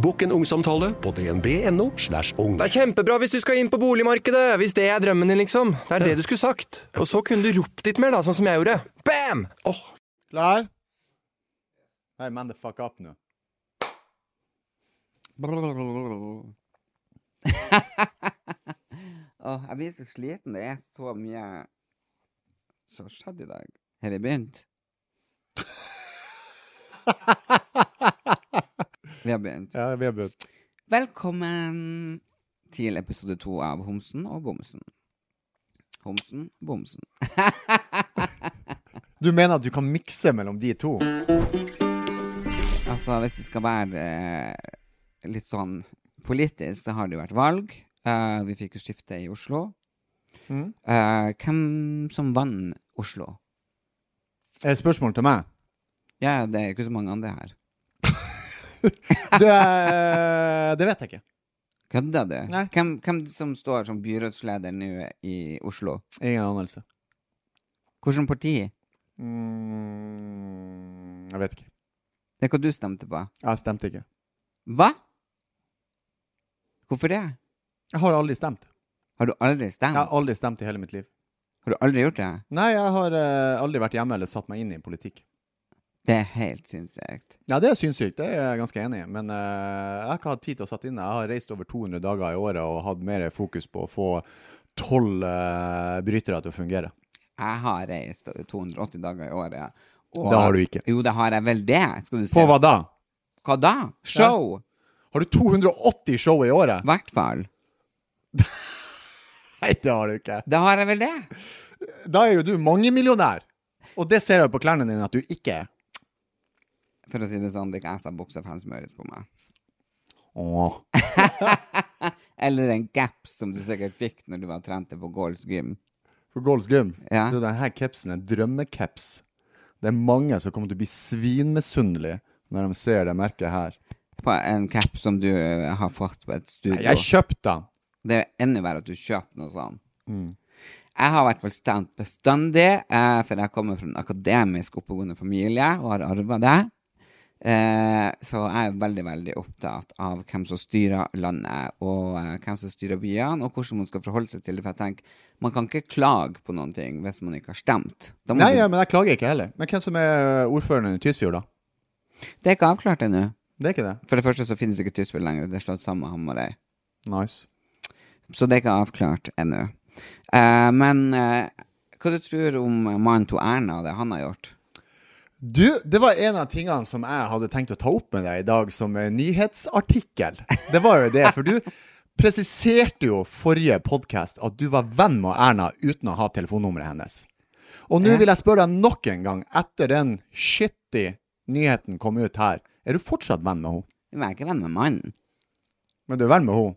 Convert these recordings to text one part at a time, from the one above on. Bokk en ungsamtale på dnb.no. slash ung. Det er kjempebra hvis du skal inn på boligmarkedet, hvis det er drømmen din, liksom. Det er det du skulle sagt. Og så kunne du ropt litt mer, da, sånn som jeg gjorde. Bam! Klar? Hey, man the fuck up nå. Åh, jeg blir så sliten. Det er så mye som har skjedd i dag. Har vi begynt? vi har begynt. Ja, vi har begynt. Velkommen til episode to av Homsen og Bomsen. Homsen, Bomsen. Du mener at du kan mikse mellom de to? Altså, hvis det skal være eh, litt sånn politisk, så har det jo vært valg. Eh, vi fikk jo skifte i Oslo. Mhm. Eh, hvem som vant Oslo? Er det et spørsmål til meg? Ja, det er jo ikke så mange andre her. Du, eh, det vet jeg ikke. Kødder du? Nei. Hvem, hvem som står som byrådsleder nå i Oslo? Ingen anelse. Hvilket parti? Mm, jeg vet ikke. Det er hva du stemte på. Jeg stemte ikke. Hva? Hvorfor det? Jeg har aldri stemt. Har du aldri Jeg stemt? har aldri stemt i hele mitt liv. Har du aldri gjort det? Nei, jeg har eh, aldri vært hjemme eller satt meg inn i politikk. Det er helt sinnssykt. Ja, det er synssykt, det er jeg ganske enig i, men eh, jeg har ikke hatt tid til å satt inne. Jeg har reist over 200 dager i året og hatt mer fokus på å få tolv eh, brytere til å fungere. Jeg har reist 280 dager i året. og- Det har du ikke. Jo, det har jeg vel det. Skal du se. På hva da? Hva da? Show! Har du 280 show i året? I hvert fall. Nei, det har du ikke. Da har jeg vel det. Da er jo du mangemillionær. Og det ser jeg på klærne dine at du ikke er. For å si det sånn, det er ikke jeg som har buksa for han smøres på meg. Åh. Eller en gaps som du sikkert fikk når du var trente på Golds gym. For Golds Gym, Ja. du, denne capsen er drømmecaps. Det er mange som kommer til å bli svinmisunnelige når de ser det merket her. På en caps som du eh, har fått på et studio. Nei, Jeg kjøpte den. Det er enda verre at du kjøper noe sånt. Mm. Jeg har i hvert fall stemt bestandig, eh, for jeg kommer fra en akademisk oppegående familie og har arva det. Eh, så jeg er veldig veldig opptatt av hvem som styrer landet, og eh, hvem som styrer byene, og hvordan man skal forholde seg til det. For jeg tenker, man kan ikke klage på noen ting hvis man ikke har stemt. Da må Nei, du- ja, men jeg klager ikke heller. Men hvem som er ordføreren i Tysfjord, da? Det er ikke avklart ennå. Det er ikke det. For det første så finnes ikke Tysfjord lenger, det er slått sammen med Hamarøy. Nice. Så det er ikke avklart ennå. Eh, men eh, hva du tror om mannen til Erna og det han har gjort? Du, det var en av tingene som jeg hadde tenkt å ta opp med deg i dag som en nyhetsartikkel. Det var jo det, for du presiserte jo forrige podkast at du var venn med Erna uten å ha telefonnummeret hennes. Og nå vil jeg spørre deg nok en gang, etter den shitty nyheten kom ut her, er du fortsatt venn med henne? Jeg er ikke venn med mannen. Men du er venn med henne?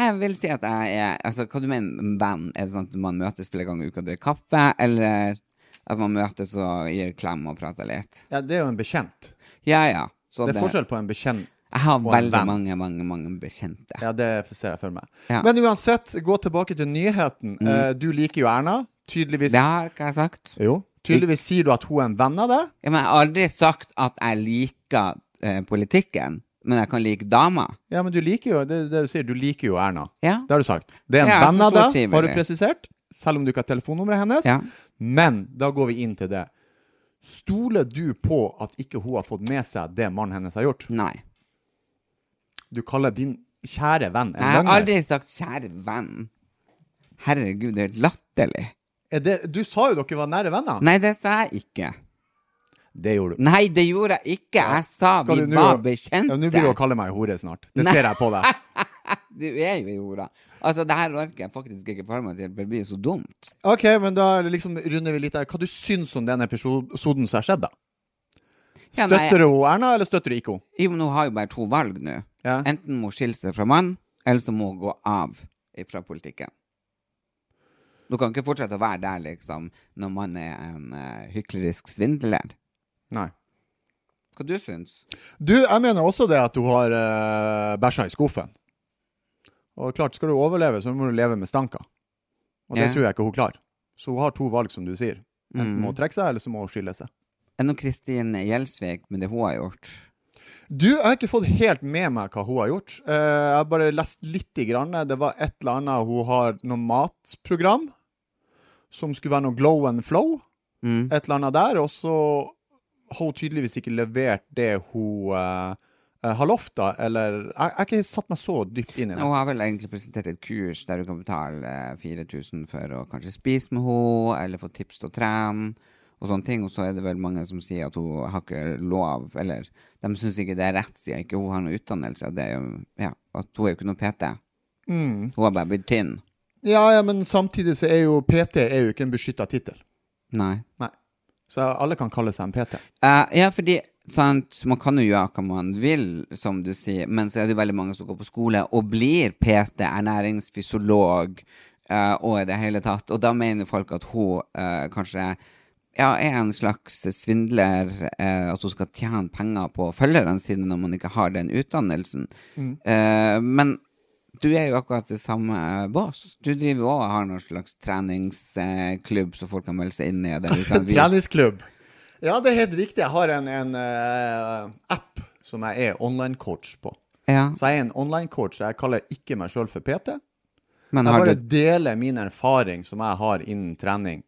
Jeg vil si at jeg er Altså, hva du mener venn? Er det sånn at man møtes flere ganger i uka og drikker kaffe, eller at man møtes og gir klem og prater litt? Ja, det er jo en bekjent. Ja, ja. Så Det Sånn er forskjell på en bekjent Jeg har på en veldig venn. mange, mange, mange bekjente. Ja, det ser jeg for meg. Ja. Men uansett, gå tilbake til nyheten. Eh, Du liker jo Erna. Tydeligvis Det har ikke jeg sagt. Jo. Tydeligvis sier du at hun er en venn av deg. Ja, men jeg har aldri sagt at jeg liker eh, politikken, men jeg kan like damer. Ja, men du liker jo det, det du sier. Du liker jo Erna. Ja. Det har du sagt. Det er en Ja, venn så av deg, forutsigbart. har du presisert. Selv om du ikke har telefonnummeret hennes. Ja. Men da går vi inn til det. Stoler du på at ikke hun har fått med seg det mannen hennes har gjort? Nei. Du kaller din kjære venn Jeg en har løgner. aldri sagt 'kjære venn'. Herregud, det er latterlig. Er det, du sa jo dere var nære venner. Nei, det sa jeg ikke. Det gjorde du. Nei, det gjorde jeg ikke. Jeg sa Skal vi du nå- var Ja, bekjente. Nå blir du å kalle meg hore snart. Det Nei. ser jeg på deg. du er jo i jorda. Altså, det her orker jeg faktisk ikke forholde meg til. for Det blir så dumt. Ok, men da er det liksom runder vi litt der. Hva du syns om den episoden som har skjedd, da? Ja, nei, støtter du hun Erna, eller støtter du ikke hun? Jo, men hun har jo bare to valg nå. Ja. Enten må hun skille seg fra mannen, eller så må hun gå av fra politikken. Du kan ikke fortsette å være der, liksom, når man er en eh, hyklerisk svindler. Nei. Hva du syns? Du, jeg mener også det at hun har uh, bæsja i skuffen. Og klart, skal du overleve, så må du leve med stanker. Og det Ja. tror jeg ikke hun klarer. Så hun har to valg, som du sier. Enten Mm. må hun trekke seg, eller så må hun skille seg. Enn om Kristin Gjelsvik med det hun har gjort? Du, jeg har ikke fått helt med meg hva hun har gjort. Eh, jeg har bare lest litt. i Grann. Det var et eller annet hun har noe matprogram som skulle være noe glow and flow. Mm. Et eller annet der. Og så har hun tydeligvis ikke levert det hun eh, eh, har lovt, da. Eller jeg, jeg har ikke satt meg så dypt inn i det. Hun har vel egentlig presentert et kurs der du kan betale eh, 4000 for å kanskje spise med henne, eller få tips til å trene, og sånne ting. Og så er det vel mange som sier at hun har ikke lov, eller de syns ikke det er rett, siden ikke hun har noen utdannelse. Og det er jo, ja, at hun er jo ikke noe PT. Hun har bare blitt tynn. Mm. Ja, ja, men samtidig så er jo PT er jo ikke en beskytta tittel. Nei. Nei. Så alle kan kalle seg en PT. Eh, ja, fordi sant, man kan jo gjøre hva man vil, som du sier, men så er det jo veldig mange som går på skole og blir PT, ernæringsfysiolog, eh, og i det hele tatt. Og da mener folk at hun eh, kanskje ja, er en slags svindler, eh, at hun skal tjene penger på følgerne sine når man ikke har den utdannelsen. Eh, men du er jo akkurat det samme bås. Du driver jo også og har noen slags treningsklubb som folk kan melde seg inn i. Der du kan vise Treningsklubb. Ja, det er helt riktig. Jeg har en, en eh, app som jeg er online-coach på. ja, Så jeg er en online-coach. Jeg kaller ikke meg sjøl for PT. men Jeg har bare du deler min erfaring som jeg har innen trening,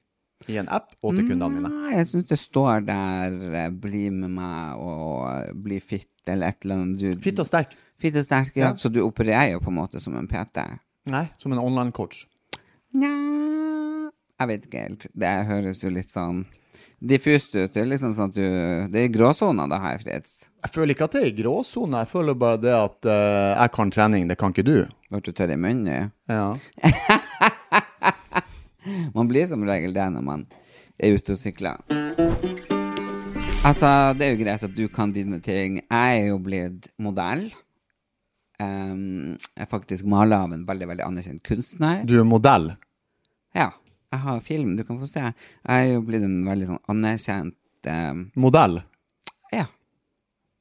i en app og til kundene mine. Nei, jeg syns det står der eh, 'bli med meg' og eh, 'bli fit' eller et eller annet. Du, Fitt og sterk. Fitt og sterk, ja. Ja. Så du opererer jo på en måte som en PT? Nei, som en online-coach. Nja Jeg vet ikke helt. Det høres jo litt sånn diffust ut. Det er liksom sånn at du Det er gråsoner, det her, Fritz. Jeg føler ikke at det er i gråsone. Jeg føler bare det at eh, jeg kan trening, det kan ikke du. Ble du tørr i munnen? Ja. Man blir som regel det når man er ute og sykler. Altså, det er jo greit at du kan dine ting. Jeg er jo blitt modell. Ehm, jeg er faktisk maler av en veldig veldig anerkjent kunstner. Du er modell. Ja, jeg har film, du kan få se. Jeg er jo blitt en veldig sånn anerkjent ehm, Modell? Ja.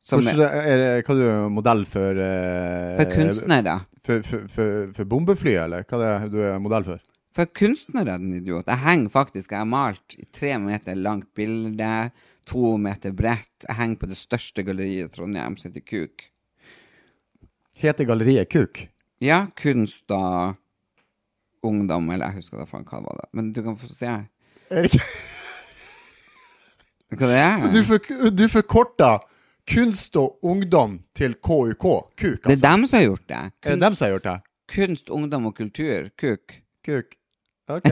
Som Hvordan, er det, hva er du modell for eh, for kunstnere. For, for, for, for bombefly, eller? Hva er det du er modell for? For kunstnere, den idiot. Jeg henger faktisk, jeg har malt i tre meter langt bilde, to meter bredt. Jeg henger på det største galleriet i Trondheim, som heter Kuk. Heter galleriet Kuk? Ja, kunst og ungdom, eller jeg husker da faen hva det var. da. Men du kan få se. Hva det er? Du, for, du forkorta kunst og ungdom til KUK. Kuk, Det er altså. dem som har gjort det. Er det dem som har gjort det? Kunst, ungdom og kultur, Kuk. Kuk. Ok.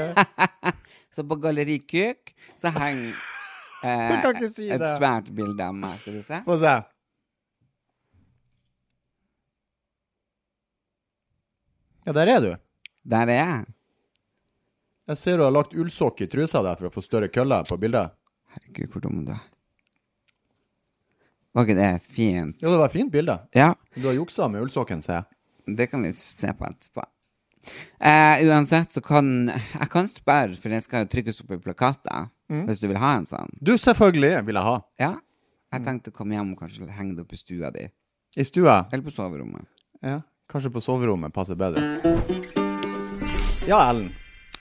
Så på Galleri Kuk så henger eh, Du kan ikke si et det. svært bilde av meg. Skal du se? Få se. Ja, der er du. Der er jeg. Jeg ser du har lagt ullsokk i trusa der for å få større køller på bildet. Herregud, hvor dum du er. Var ikke det fint? Jo, det var et fint bilde. Ja, Du har juksa med ullsokken, ser jeg. det kan vi se på etterpå. Eh, uansett så kan jeg kan spørre, for det skal jo trykkes opp i plakater, Mm. hvis du vil ha en sånn. Du, selvfølgelig vil jeg ha. Ja. Jeg Mm. tenkte å komme hjem og kanskje henge det opp i stua di, I stua. eller på soverommet. Ja, kanskje på soverommet passer bedre. Ja, Ellen.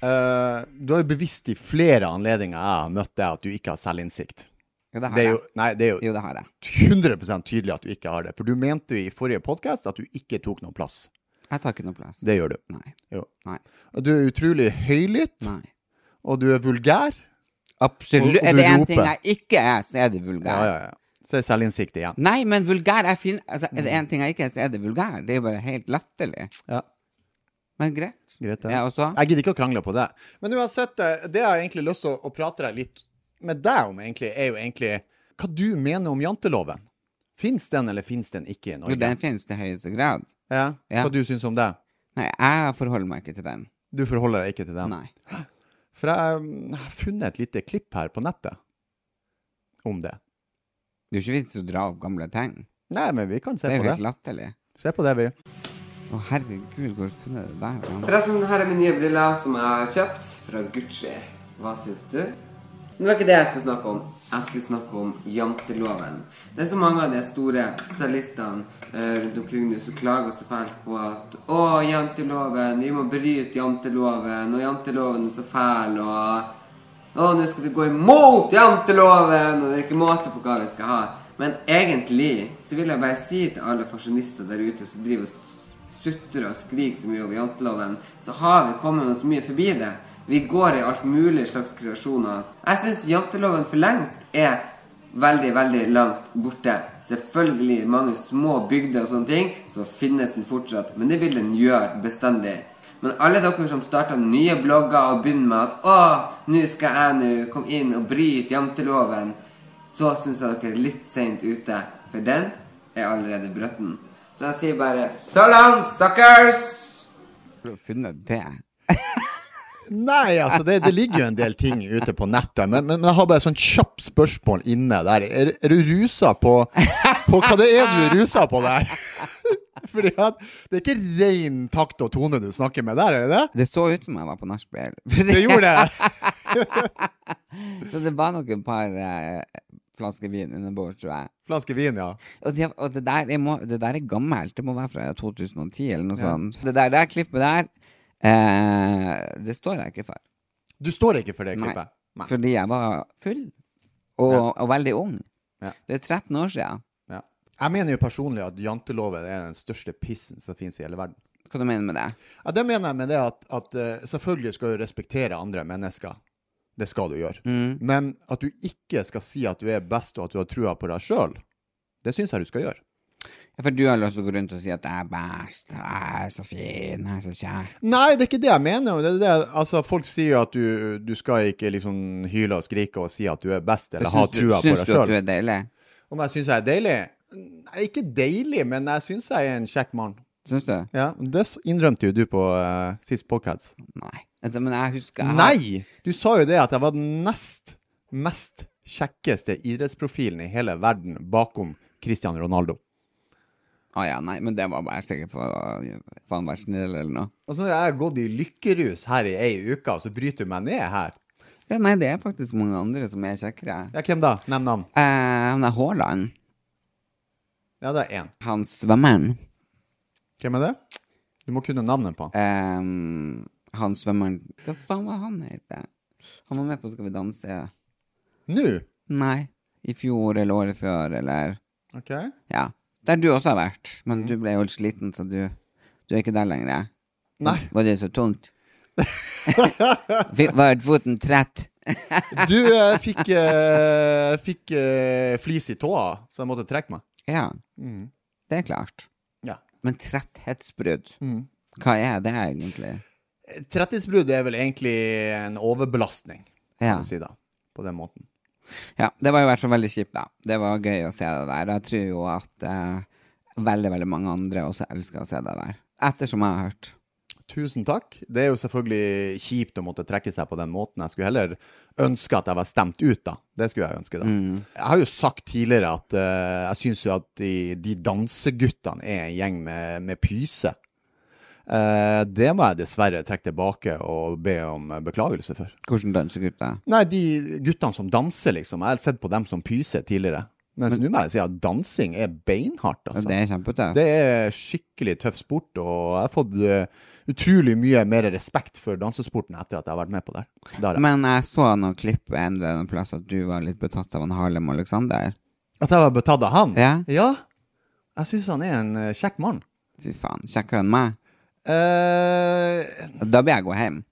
Eh, du har jo bevisst i flere anledninger jeg har møtt deg, at du ikke har selvinnsikt. Jo, det har Det er jeg. jo, nei, det er jo Jo, det har jeg. 100 tydelig at du ikke har det. For du mente jo i forrige podkast at du ikke tok noen plass. Jeg tar ikke noe plass. Det gjør du. Nei. Jo. Nei. Og Du er utrolig høylytt, Nei. og du er vulgær. Absolutt. Og- og Er du det én roper. ting jeg ikke er, så er det vulgær. Ja, ja, ja. Så er selvinnsikt igjen. Nei, men vulgær er fin... Altså, er det Mm. én ting jeg ikke er, så er det vulgær. Det er jo bare helt latterlig. Ja. Men greit. Greit, det. ja. og så? Jeg gidder ikke å krangle på det. Men uansett, eh, det jeg har egentlig lyst til å, å prate deg litt med deg om, egentlig, er jo egentlig hva du mener om janteloven. Fins den, eller fins den ikke i Jo, Norge? den finnes til høyeste grad. Ja. Ja. Hva du syns om det? Nei, jeg forholder meg ikke til den. Du forholder deg ikke til den? Nei. For jeg mm, jeg har funnet et lite klipp her på nettet om det. Det er jo ikke vits å dra opp gamle ting. Nei, men vi kan se Det er på jo helt det. latterlig. Se på det, vi. Å, herregud, hvor har du funnet det der? Jan? Forresten, her er mine nye briller som jeg har kjøpt fra Gucci. Hva syns du? Men Det var ikke det jeg skulle snakke om. Jeg skulle snakke om janteloven. Det er så mange av de store stylistene eh, rundt omkring nå som klager så fælt på at Å, janteloven, vi må bryte janteloven, og janteloven er så fæl, og Å, nå skal vi gå imot janteloven, og det er ikke måte på hva vi skal ha. Men egentlig så vil jeg bare si til alle fasjonister der ute som driver og s- sutrer og skriker så mye over janteloven, så har vi kommet oss mye forbi det. Vi går i alt mulig slags kreasjoner. Jeg syns janteloven for lengst er veldig, veldig langt borte. Selvfølgelig i mange små bygder og sånne ting, så finnes den fortsatt. Men det vil den gjøre bestandig. Men alle dere som starter nye blogger og begynner med at 'Å, nå skal jeg nå komme inn og bryte janteloven' så syns jeg dere er litt seint ute, for den er allerede brøtten. Så jeg sier bare so long, suckers! Hvor har du funnet det? Nei, altså det, det ligger jo en del ting ute på nettet, men, men, men jeg har bare sånn kjapt spørsmål inne der. Er, er du rusa på, på Hva det er du er rusa på der? Fordi at det er ikke ren takt og tone du snakker med der, er det det? Det så ut som jeg var på nachspiel. Det gjorde det. Så det var nok et par eh, flasker vin underbords, tror jeg. Flaske vin, ja. Og, det, og det, der, jeg må, det der er gammelt. Det må være fra 2010 eller noe sånt. Det der, det der klippet der, eh, det står jeg ikke for. Du står ikke for det Nei. klippet? Nei. Fordi jeg var full. Og, og veldig ung. Ja. Det er 13 år siden. Ja. Jeg mener jo personlig at janteloven er den største pissen som finnes i hele verden. Hva du mener med det? Ja, Det mener jeg med det at, at eh, selvfølgelig skal du respektere andre mennesker. Det skal du gjøre. Men at du ikke skal si at du er best, og at du har trua på deg sjøl, det syns jeg du skal gjøre. Ja, For du har lyst til å gå rundt og si at jeg er best, jeg er så fin, jeg er så kjær. Nei, det er ikke det jeg mener. Det er det, altså, folk sier jo at du, du skal ikke liksom hyle og skrike og si at du er best, eller ha Syns du, trua på syns deg du at du sjøl. er deilig? Om jeg syns jeg er deilig? Nei, ikke deilig, men jeg syns jeg er en kjekk mann. Syns du? Ja, Det s- innrømte jo du på eh, sist podcast. Nei. Altså, men jeg husker jeg har- Nei! Du sa jo det at jeg var den nest mest kjekkeste idrettsprofilen i hele verden bakom Cristiano Ronaldo. Å ja, nei, men det var bare sikkert for å faen være snill eller noe. Og så har jeg gått i lykkerus her i ei uke, og så bryter du meg ned her. Ja, nei, det er faktisk mange andre som er kjekkere. Ja, hvem da? Nevn navn. Eh, han der Haaland, Ja, det er én. han svømmeren Hvem er det? Du må kunne navnet på han. eh, Han svømmeren Hva faen var han het? Han var med på Skal vi danse. Nå! Nei. I fjor eller året før, eller OK? Ja. Der du også har vært. Men Mm. du ble jo litt sliten, så du, du er ikke der lenger. jeg. Nei. Var det så tungt? Fikk- Var foten trett? Du eh, fikk, eh, fikk eh, flis i tåa, så jeg måtte trekke meg. Ja. Mm. Det er klart. Ja. Men tretthetsbrudd, hva er det egentlig? Trettighetsbrudd er vel egentlig en overbelastning, Ja. kan du si da. På den måten. ja. Det var i hvert fall veldig kjipt, da. Det var gøy å se det der. Jeg tror jo at eh, veldig, veldig mange andre også elsker å se det der. Ettersom jeg har hørt. Tusen takk. Det er jo selvfølgelig kjipt å måtte trekke seg på den måten. Jeg skulle heller ønske at jeg var stemt ut, da. Det skulle jeg ønske, da. Mm. Jeg har jo sagt tidligere at eh, jeg syns jo at de, de danseguttene er en gjeng med, med pyse. Eh, det må jeg dessverre trekke tilbake og be om eh, beklagelse for. Hvordan dansegutter? Nei, de guttene som danser, liksom. Jeg har sett på dem som pyse tidligere. Mens nå må jeg si at dansing er beinhardt, altså. Det er kjempetøft. Det er skikkelig tøff sport, og jeg har fått eh, utrolig mye mer respekt for dansesporten etter at jeg har vært med på det. her. Det har jeg. Men jeg så noen klipp en eller annen plass at du var litt betatt av han Harlem Alexander. At jeg var betatt av han? Ja. Jeg syns han er en eh, kjekk mann. Fy faen, kjekkere enn meg. Eh, Da bør jeg gå hjem.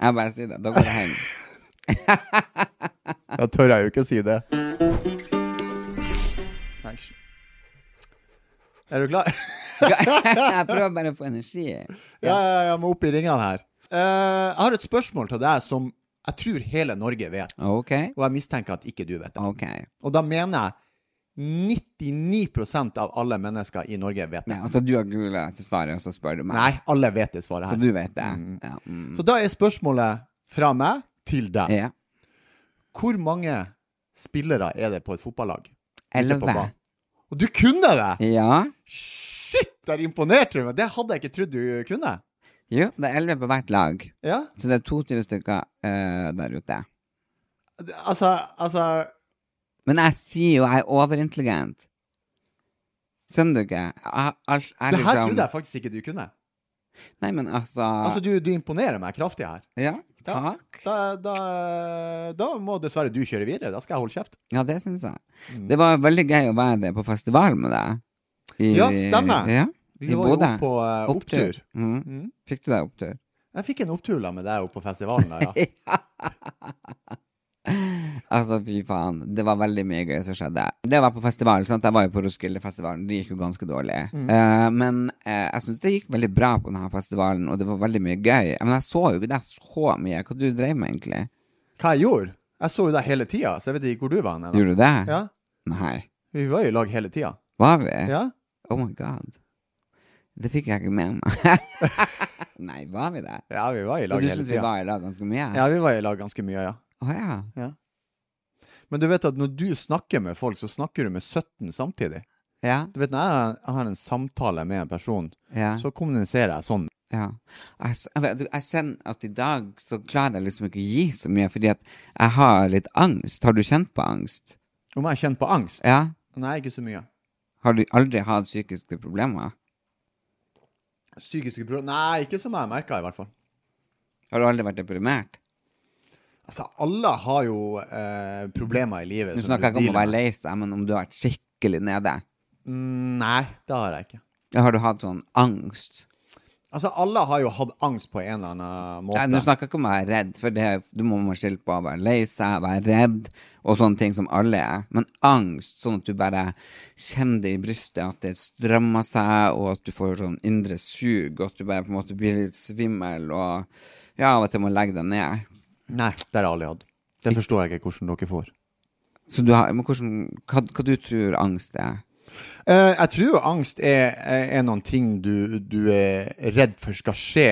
Jeg bare sier det. Da går jeg hjem. da tør jeg jo ikke å si det. Thanks. Er du klar? jeg prøver bare å få energi. Ja, ja, ja, jeg må opp i ringene her. Eh, jeg har et spørsmål til deg som Jeg tror hele Norge vet, OK. og jeg mistenker at ikke du vet det. ok. Og da mener jeg 99 av alle mennesker i Norge vet det. Nei, altså, du har googla til svaret, og så spør du meg. Nei, alle vet det svaret Så her. du vet det. Ja. Mm. Så da er spørsmålet fra meg til deg. ja. Hvor mange spillere er det på et fotballag? Ute på Elleve. banen. Og du kunne det! Ja. Shit, der imponerte du meg! Det hadde jeg ikke trodd du kunne. Jo, det er elleve på hvert lag. Ja, Så det er 22 stykker eh, der ute. det- altså, altså Men jeg sier jo jeg er overintelligent. Skjønner du ikke? Jeg, jeg, jeg, Det her liksom- trodde jeg faktisk ikke du kunne. Nei, men altså, Altså, du, du imponerer meg kraftig her. Ja, Ja. takk. Da, da, da må dessverre du kjøre videre. Da skal jeg holde kjeft. Ja, det syns jeg. Mm. Det var veldig gøy å være på festival med deg. I, Ja, stemmer. Ja, Vi i var jo Bodø. på eh, opptur. Mm. Mhm. Fikk du deg opptur? Jeg fikk en opptur da med deg oppe på festivalen. Der, ja. Altså, fy faen. Det var veldig mye gøy som skjedde. Det å være på festival, sant? Jeg var jo på Roskilde-festivalen. Det gikk jo ganske dårlig. Mm. Eh, men eh, jeg syns det gikk veldig bra på denne festivalen, og det var veldig mye gøy. Men jeg så jo ikke deg så mye. Hva du drev med, egentlig? Hva jeg gjorde? Jeg så jo deg hele tida, så jeg vet ikke hvor du var. Nena. Gjorde du det? Ja, Nei. Vi var jo i lag hele tida. Var vi? Ja? Oh my god. Det fikk jeg ikke med meg. Nei, var vi det? ja, vi var i Så lag du hele syns vi tida. var i lag ganske mye? Ja, vi var i lag ganske mye, ja. Å ja. Men du vet at når du snakker med folk, så snakker du med 17 samtidig. Ja. Du vet, Når jeg jeg har en samtale med en person, ja. så kommuniserer jeg sånn. Ja. Jeg, s- jeg, vet- jeg kjenner at i dag så klarer jeg liksom ikke å gi så mye, fordi at jeg har litt angst. Har du kjent på angst? Om jeg kjenner på angst? Ja. Nei, ikke så mye. Har du aldri hatt psykiske problemer? Psykiske problemer? Nei, ikke som jeg merka, i hvert fall. Har du aldri vært deprimert? Altså, alle har jo eh, problemer i livet. Nå som du snakker jeg ikke om å dealer være med. lei seg, men om du har vært skikkelig nede. Mm, Nei, det har jeg ikke. Har du hatt sånn angst? Altså, alle har jo hatt angst på en eller annen måte. Nei, Nå snakker jeg ikke om å være redd, for det, du må må skille på å være lei seg, være redd, og sånn. sånne ting som alle er. Men angst, sånn at du bare kjenner det i brystet, at det strømmer seg, og at du får sånn indre sug, og at du bare på en måte blir litt svimmel, og ja, av og til må legge deg ned. Nei, det har jeg aldri hatt. Det forstår jeg ikke hvordan dere får. Så du har, men hvordan, hva, hva du tror angst er? Eh, jeg tror jo angst er, er noen ting du, du er redd for skal skje,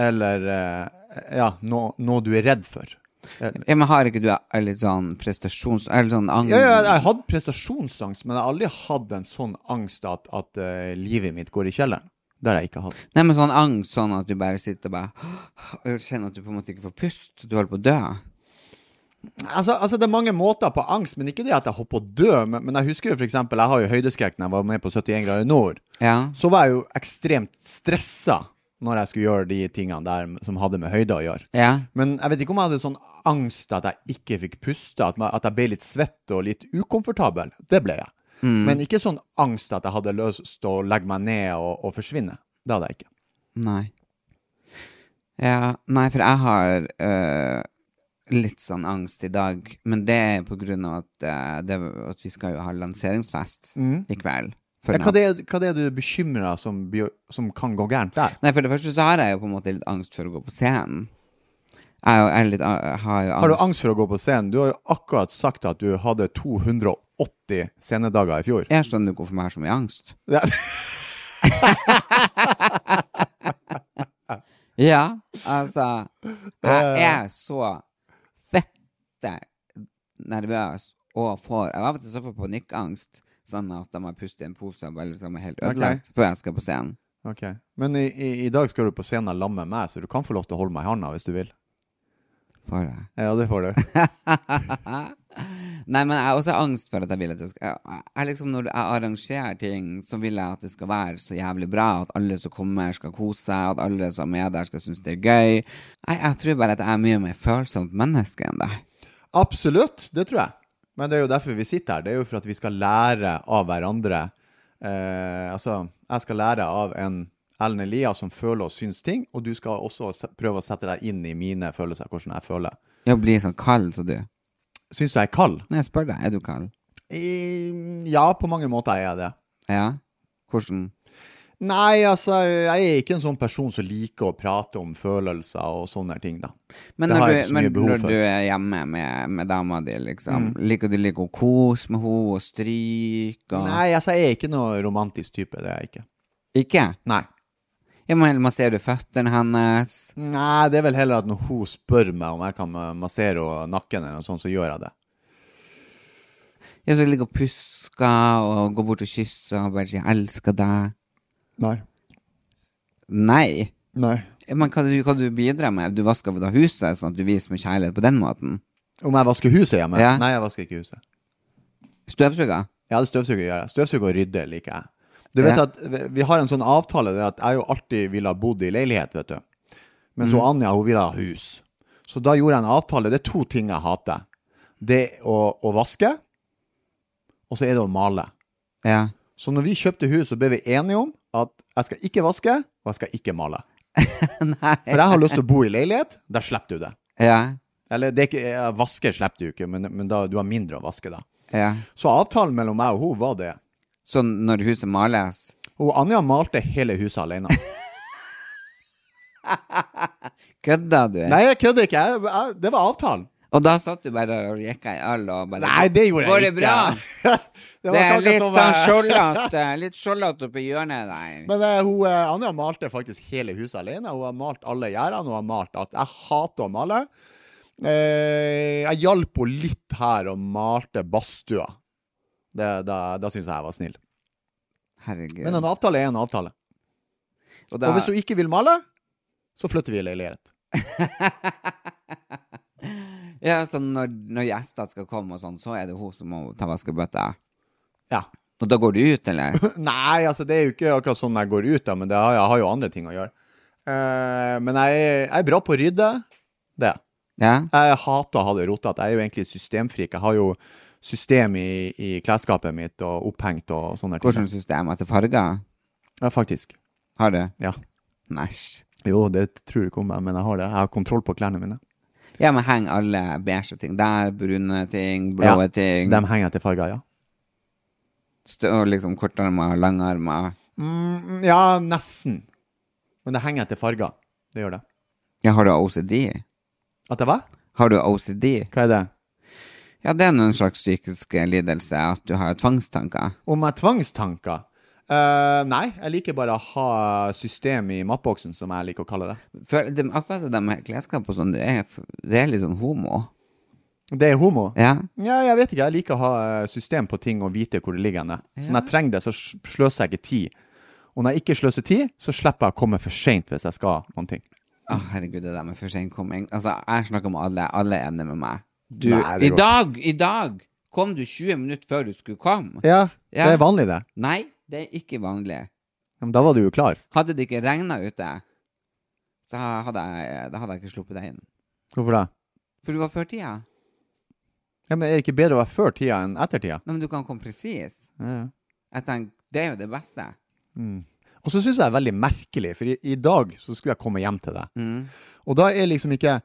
eller eh, ja, noe, noe du er redd for. Ja, men har ikke du er litt sånn prestasjons... Eller sånn angst? Ja, ja, jeg har hatt prestasjonsangst, men jeg har aldri hatt en sånn angst at, at eh, livet mitt går i kjelleren. Det har jeg ikke hatt. Nei, men sånn angst, sånn at du bare sitter og bare og kjenner at du på en måte ikke får pust, du holder på å dø. Altså, altså, Det er mange måter på angst, men ikke det at jeg hopper og dør. Men, men jeg husker jo f.eks. jeg har jo høydeskrekk når jeg var med på 71 grader nord. Ja. Så var jeg jo ekstremt stressa når jeg skulle gjøre de tingene der som hadde med høyde å gjøre. Ja. Men jeg vet ikke om jeg hadde sånn angst at jeg ikke fikk puste, at, ma- at jeg ble litt svett og litt ukomfortabel. Det ble jeg. Mm. Men ikke sånn angst at jeg hadde lyst til å legge meg ned og, og forsvinne. Det hadde jeg ikke. Nei. Ja, nei, for jeg har øh, litt sånn angst i dag. Men det er på grunn av at, øh, det, at vi skal jo ha lanseringsfest Mm. i kveld. For Ja, hva, nå. det, er- hva det er du bekymra som, bio- som kan gå gærent der? Nei, for det første så har jeg jo på en måte litt angst for å gå på scenen. Jeg, er jo- jeg, er litt, jeg har jo angst. Har du angst for å gå på scenen? Du har jo akkurat sagt at du hadde 280 scenedager i fjor. Jeg skjønner jo hvorfor jeg har så mye angst. Ja. ja, altså Jeg Eh, er så fette nervøs og får Jeg Av og til så får jeg panikkangst, sånn at jeg må puste i en pose og bare liksom er helt Ok. ødelagt før jeg skal på scenen. Ok. Men i, i, i dag skal du på scenen sammen med meg, så du kan få lov til å holde meg i handa hvis du vil. Får jeg. Ja, det får du. Nei, men jeg har også angst for at jeg vil at det skal jeg, jeg liksom Når jeg arrangerer ting, så vil jeg at det skal være så jævlig bra. At alle som kommer, skal kose seg. At alle som er der, skal synes det er gøy. Jeg, jeg tror bare at jeg er mye mer følsomt menneske enn deg. Absolutt, det tror jeg. Men det er jo derfor vi sitter her. Det er jo for at vi skal lære av hverandre. Eh, altså, jeg skal lære av en Ellen Elias som føler og syns ting, og du skal også se- prøve å sette deg inn i mine følelser, hvordan jeg føler. Jeg blir sånn kald som du. Syns du jeg er kald? Når jeg spør deg, er du kald? I, ja, på mange måter er jeg det. Ja? Hvordan? Nei, altså, jeg er ikke en sånn person som liker å prate om følelser og sånne ting, da. Men det når, har du, jeg ikke så men mye behov når du for. er hjemme med, med dama di, Mm. liksom, liker du like å kose med henne og stryke og Nei, altså, jeg er ikke noe romantisk type, det er jeg ikke. Ikke? Nei. Ja, men masserer du føttene hennes? Nei, det er vel heller at når hun spør meg om jeg kan eh, massere henne nakken eller noe sånt, så gjør jeg det. Ja, så ligger og pusker og går bort og kysser og bare sier 'elsker deg'. Nei. Nei. Nei. Men hva, du- hva du bidrar med? Du vasker da huset, sånn at du viser med kjærlighet på den måten? Om jeg vasker huset hjemme? Ja. Nei, jeg vasker ikke huset. Støvsuger? Ja, det støvsuger gjør jeg. Støvsuger og rydder liker jeg. Du vet Ja. at vi- Vi har en sånn avtale det er at jeg jo alltid ville ha bodd i leilighet, vet du. Men Mhm. så Anja hun ville ha hus. Så da gjorde jeg en avtale. Det er to ting jeg hater. Det å, å vaske, og så er det å male. Ja. Så når vi kjøpte hus, så ble vi enige om at jeg skal ikke vaske, og jeg skal ikke male. For jeg har lyst til å bo i leilighet. Da slipper du det. Ja. Eller det er ikke, eh, vaske slipper du ikke, men, men da, du har mindre å vaske da. ja. Så avtalen mellom meg og hun var det. Så når huset males Og Anja malte hele huset alene. Kødda du? Nei, jeg kødder ikke. Jeg, jeg, det var avtalen. Og da satt du bare og gikk i all og bare Nei, det gjorde Går jeg det ikke. bra? det Det er var litt litt sånn som, skjoldete. Litt skjoldete oppi hjørnet der. men eh, hun, eh, Anja malte faktisk hele huset alene. Hun har malt alle gjerdene. Hun har malt at jeg hater å male. Eh, jeg hjalp henne litt her og malte badstua. Det, da da syns jeg jeg var snill. Herregud. Men en avtale er en avtale. og da, Og hvis hun ikke vil male, så flytter vi i leilighet. ja, så når, når gjester skal komme og sånn, så er det hun som må ta vaskebøtta? Ja. Og da går du ut, eller? Nei, altså det er jo ikke akkurat sånn jeg går ut, da, men det har, jeg har jo andre ting å gjøre. Eh, men jeg, jeg er bra på å rydde. Det. Ja? Jeg hater å ha det rotete. Jeg er jo egentlig systemfrik. Jeg har jo system i, i klesskapet mitt og opphengt og sånne ting. Hvilket system? Etter farger? Ja, faktisk. Har du? Ja. Næsj. Jo, det tror du ikke om meg, men jeg har det. Jeg har kontroll på klærne mine. Ja, men henger alle beige ting der? Brune ting? Blå Ja, ting? De henger etter farger, ja. Stå, liksom kortarmer? Langarmer? Mm, ja, nesten. Men det henger etter farger. Det gjør det. Ja, har du OCD? At det var? Har du OCD? Hva er det? Ja, det er en slags psykisk lidelse at du har tvangstanker. Om jeg tvangstanker? Eh, nei, jeg liker bare å ha system i mappboksen, som jeg liker å kalle det. For det, akkurat det der med klesskap og sånn, det er, det er litt sånn homo. Det er homo. Ja. Ja, jeg vet ikke. Jeg liker å ha eh, system på ting og vite hvor det ligger henne. Så når jeg trenger det, så s- sløser jeg ikke tid. Og når jeg ikke sløser tid, så slipper jeg å komme for seint hvis jeg skal noen ting. Å, herregud, det der med for sen komming. Altså, jeg snakker med alle. Alle er enige med meg. Du, Nei, det I går- dag! I dag! Kom du 20 minutter før du skulle komme? Ja, Ja. det er vanlig, det. Nei, det er ikke vanlig. Ja, Men da var du jo klar. Hadde det ikke regna ute, så hadde jeg, da hadde jeg ikke sluppet deg inn. Hvorfor det? For du var før tida. Ja, men Er det ikke bedre å være før tida enn etter tida? Nei, men du kan komme presis. Ja, ja. Jeg tenker, det er jo det beste. Og så syns jeg det er veldig merkelig, for i, i dag så skulle jeg komme hjem til deg. Og da er liksom ikke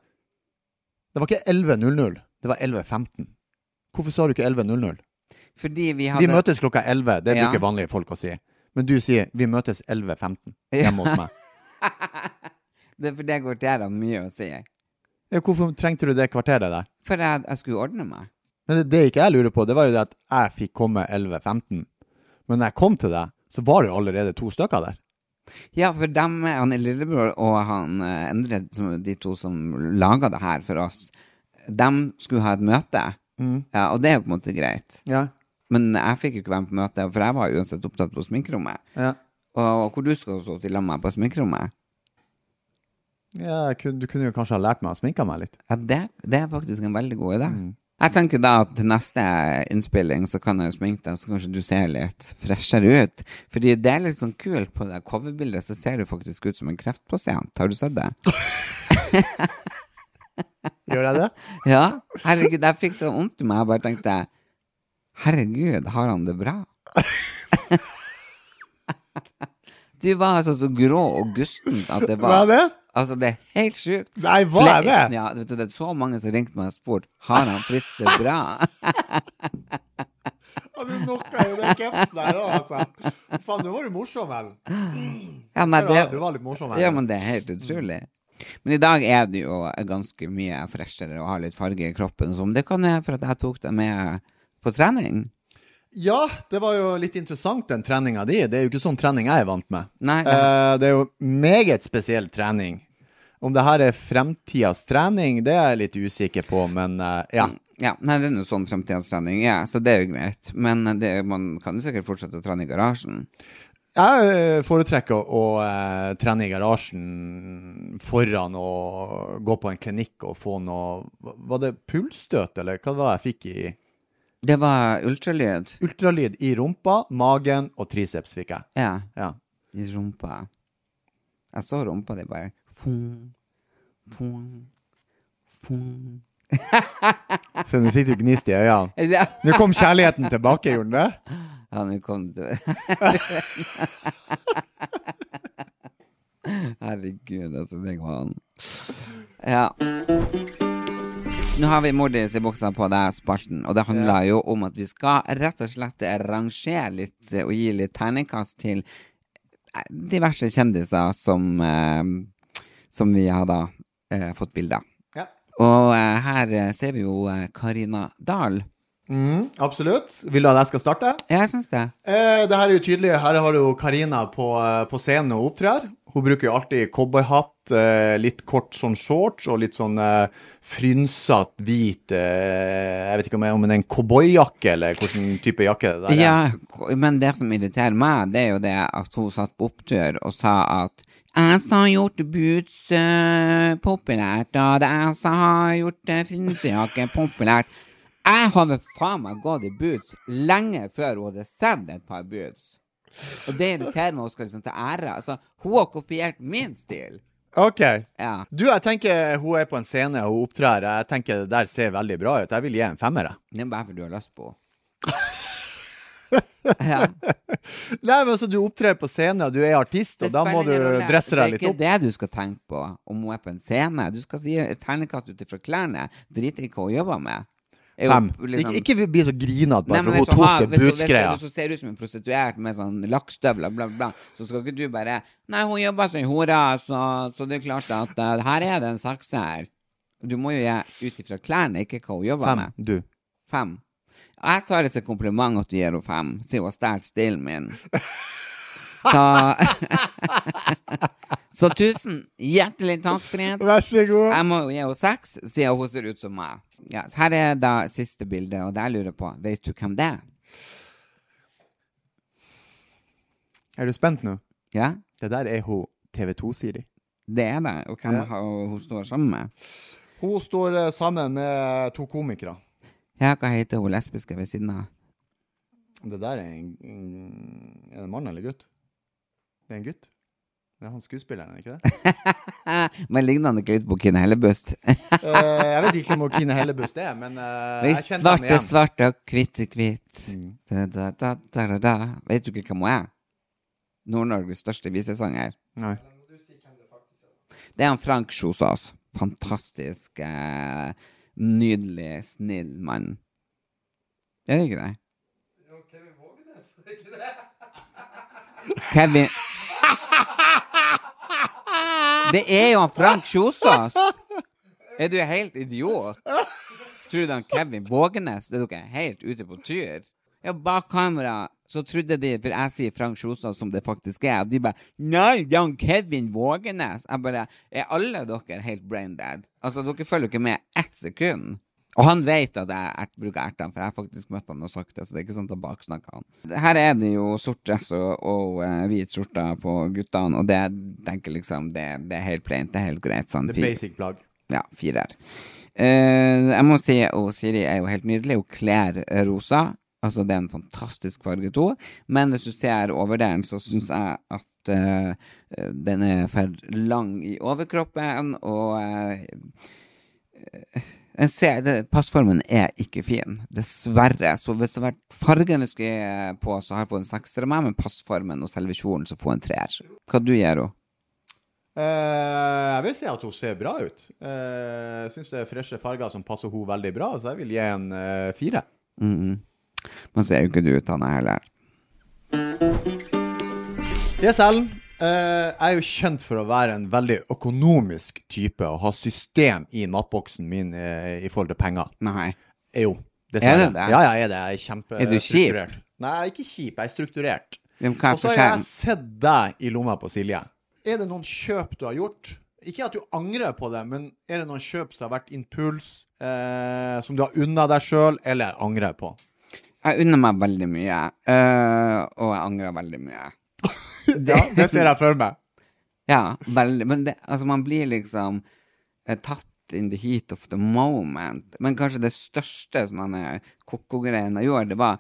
Det var ikke 11.00, det var 11.15. Hvorfor sa du ikke 11.00? Fordi vi Vi hadde møtes klokka 11, det Ja. bruker vanlige folk å si. Men du sier 'vi møtes 11.15' hjemme hos meg. det, For det går til jeg da mye å si. Ja, hvorfor trengte du det kvarteret der? For jeg, jeg skulle ordne meg. Men det, det ikke jeg lurer på, det var jo det at jeg fikk komme 11.15. Men når jeg kom til deg, så var det jo allerede to stykker der. Ja, for dem, han lillebror og han eh, Endre, som, de to som laga det her for oss, dem skulle ha et møte. Ja, og det er jo på en måte greit. Ja, Men jeg fikk jo ikke være med på møtet, for jeg var uansett opptatt på sminkerommet. ja. Og hvor du skal stå til sammen med meg på sminkerommet? jeg kunne, du kunne jo kanskje ha lært meg å sminke meg litt. Ja, det, det er faktisk en veldig god idé. Jeg tenker da at til neste innspilling så kan jeg jo sminke deg, så kanskje du ser litt freshere ut. Fordi det er litt sånn kult på det coverbildet, så ser du faktisk ut som en kreftpasient. Har du sett det? Gjør jeg det? Ja. Herregud, jeg fikk så vondt i meg. Jeg bare tenkte Herregud, har han det bra? Du var altså så grå og gusten at det var Var jeg det? Altså, det er helt sjukt. Nei, var jeg Fle- det? Ja, vet du, det er så mange som ringte meg og spurte Har han Fritz det bra. Ja, du knocka jo den kepsen der òg, altså. Faen, nå var du morsom, vel? Ja, nei, Ser du, det, du var litt morsom her. ja, men det er helt utrolig. Men i dag er det jo ganske mye freshere og har litt farge i kroppen. Som det kan jeg for at jeg tok det med på trening. Ja, det var jo litt interessant den treninga di. Det er jo ikke sånn trening jeg er vant med. Nei. Eh, det er jo meget spesiell trening. Om det her er fremtidas trening, det er jeg litt usikker på, men eh, ja. Ja, nei, det er noe sånn fremtidstrening, ja, så det er jo greit. Men det, man kan jo sikkert fortsette å trene i garasjen. Jeg eh, foretrekker å eh, trene i garasjen foran å gå på en klinikk og få noe hva- Var det pulsstøt, eller hva var det jeg fikk i Det var ultralyd. Ultralyd i rumpa, magen og triceps fikk jeg. Ja, Ja. i rumpa. Jeg så rumpa di bare fung, fung, fung. Så nå fikk du gnist i øynene. Ja, Nå kom kjærligheten tilbake, gjorde den det? ja, nå kom du. Herregud, altså, det går an. Ja. Nå har vi Mordis i buksa på deg, spalten, og det handler jo om at vi skal rett og slett rangere litt eh, og gi litt terningkast til eh, diverse kjendiser som, eh, som vi har da eh, fått bilder av. Ja. Og eh, her eh, ser vi jo eh, Karina Dahl. Mm, absolutt. Vil du at jeg skal starte? Ja, jeg syns det. Eh, det her er jo tydelig. Her har du jo Karina på, eh, på scenen og opptrer. Hun bruker jo alltid cowboyhatt, eh, litt kort sånn shorts og litt sånn eh, frynsete hvit eh, Jeg vet ikke om det er- om det er en cowboyjakke eller hvilken type jakke det der er. Ja, ko- men det som irriterer meg, det er jo det at hun satt på opptur og sa at jeg som har gjort boots eh, populært, og det er jeg som har gjort uh, frynsejakke populært. Jeg hadde faen meg gått i boots lenge før hun hadde sett et par boots. Og det irriterer meg, hun skal liksom ta ære. Altså, hun har kopiert min stil. Ok. Ja. Du, jeg tenker hun er på en scene og opptrer. Jeg tenker det der ser veldig bra ut. Jeg vil gi en femmer, jeg. Det er bare fordi du har lyst på henne. Ja. Nei, men altså, du opptrer på scenen, og du er artist, og da må spiller ingen du rolle. dresse deg litt Det er opp. ikke det du skal tenke på om hun er på en scene. Du skal gi et terningkast ut ifra klærne. Drit i hva hun jobber med. Er hun Fem. liksom- Ikke, ikke bli så grinete Nei, bare men for hun hvis hun har- tok hvis det hun- hvis bootsgreia. du så ser ut som en prostituert med sånn lakkstøvler, bla, bla, så skal ikke du bare Nei, hun jobber som ei hore, så, så det er klart at eh, her er det en saks her. Du må jo gi ut ifra klærne, ikke hva hun jobber Fem. med. Du. Fem. Jeg tar det som kompliment at du gir henne fem, siden hun har stjålet stilen min. Så Så tusen hjertelig takk, Fritz. Vær så god. Jeg må jo gi henne seks, siden hun ser ut som meg. Ja, så her er da siste bilde, og det jeg lurer på, vet du hvem det er? Er du spent nå? Ja, Det der er hun TV2-Siri. det er det. Og hvem har- hun står sammen med? Hun står eh, sammen med to komikere. Ja, hva heter hun lesbiske ved siden av? Det der er en, en Er det mann eller gutt? Det er en gutt. Det er han skuespilleren, er det ikke det? Men ligner han ikke litt på Kine Hellebust? Eh, jeg vet ikke om hun Kine Hellebust er, men eh, Vi jeg kjente han svarte, igjen. Mm. svarte og kvitte, kvitt. Da, da, da, da, da, da. Vet du ikke hvem hun er? Nord-Norges største visesanger. Nei. Det er han Frank Kjosås. Fantastisk, eh, nydelig, snill mann. Er det ikke det? Kevin Det er jo han Frank Kjosås! Er du helt idiot? Tror du han Kevin Vågenes Det er dere helt ute på tur? Ja, bak kamera så trodde de, for jeg sier Frank Kjosås som det faktisk er, og de bare Nei, det er han Kevin Vågenes! Jeg bare Er alle dere helt brain dead? Altså, dere følger jo ikke med ett sekund. Og han vet at jeg ert, bruker ertene, for jeg har faktisk møtt han og sagt det. Så det er ikke sånn at jeg baksnakker han. Her er det jo sort dress og, og eh, hvit skjorte på guttene, og det tenker liksom Det, det er helt plaint, det er helt greit. Sånn Det er fire- basic plagg. ja, firer. Eh, jeg må si og Siri er jo helt nydelig. Hun kler rosa. Altså, det er en fantastisk farge, to. Men hvis du ser over den, så syns jeg at eh, eh, den er for lang i overkroppen, og eh, jeg ser, det, passformen er ikke fin, dessverre. Så hvis det var fargen jeg skulle på, så har jeg fått en sekser av meg, men passformen og selve kjolen, så får jeg en treer. Hva du gjør hun? Eh, jeg vil si at hun ser bra ut. Eh, Jeg syns det er freshe farger som passer hun veldig bra, så jeg vil gi en eh, fire. Mm -mm. Men så er jo ikke du utdanna heller. Yes, Ellen. Eh, jeg er jo kjent for å være en veldig økonomisk type og ha system i matboksen min eh, i forhold til penger. Nei. Eh, Jo, Er det det? Ja, jeg er det. Jeg er kjempe Er du kjip? strukturert. Nei, jeg er ikke kjip. Jeg er strukturert. Men hva er Og så har forskjellen? jeg sett deg i lomma på Silje. Er det noen kjøp du har gjort? Ikke at du angrer på det, men er det noen kjøp som har vært impuls, eh, som du har unna deg sjøl, eller angrer på? Jeg unner meg veldig mye, øh, og jeg angrer veldig mye. Ja, det ser jeg for meg. Ja, veldig. Men det, altså, man blir liksom eh, tatt in the heat of the moment. Men kanskje det største sånne ko-ko-greien jeg gjorde, det var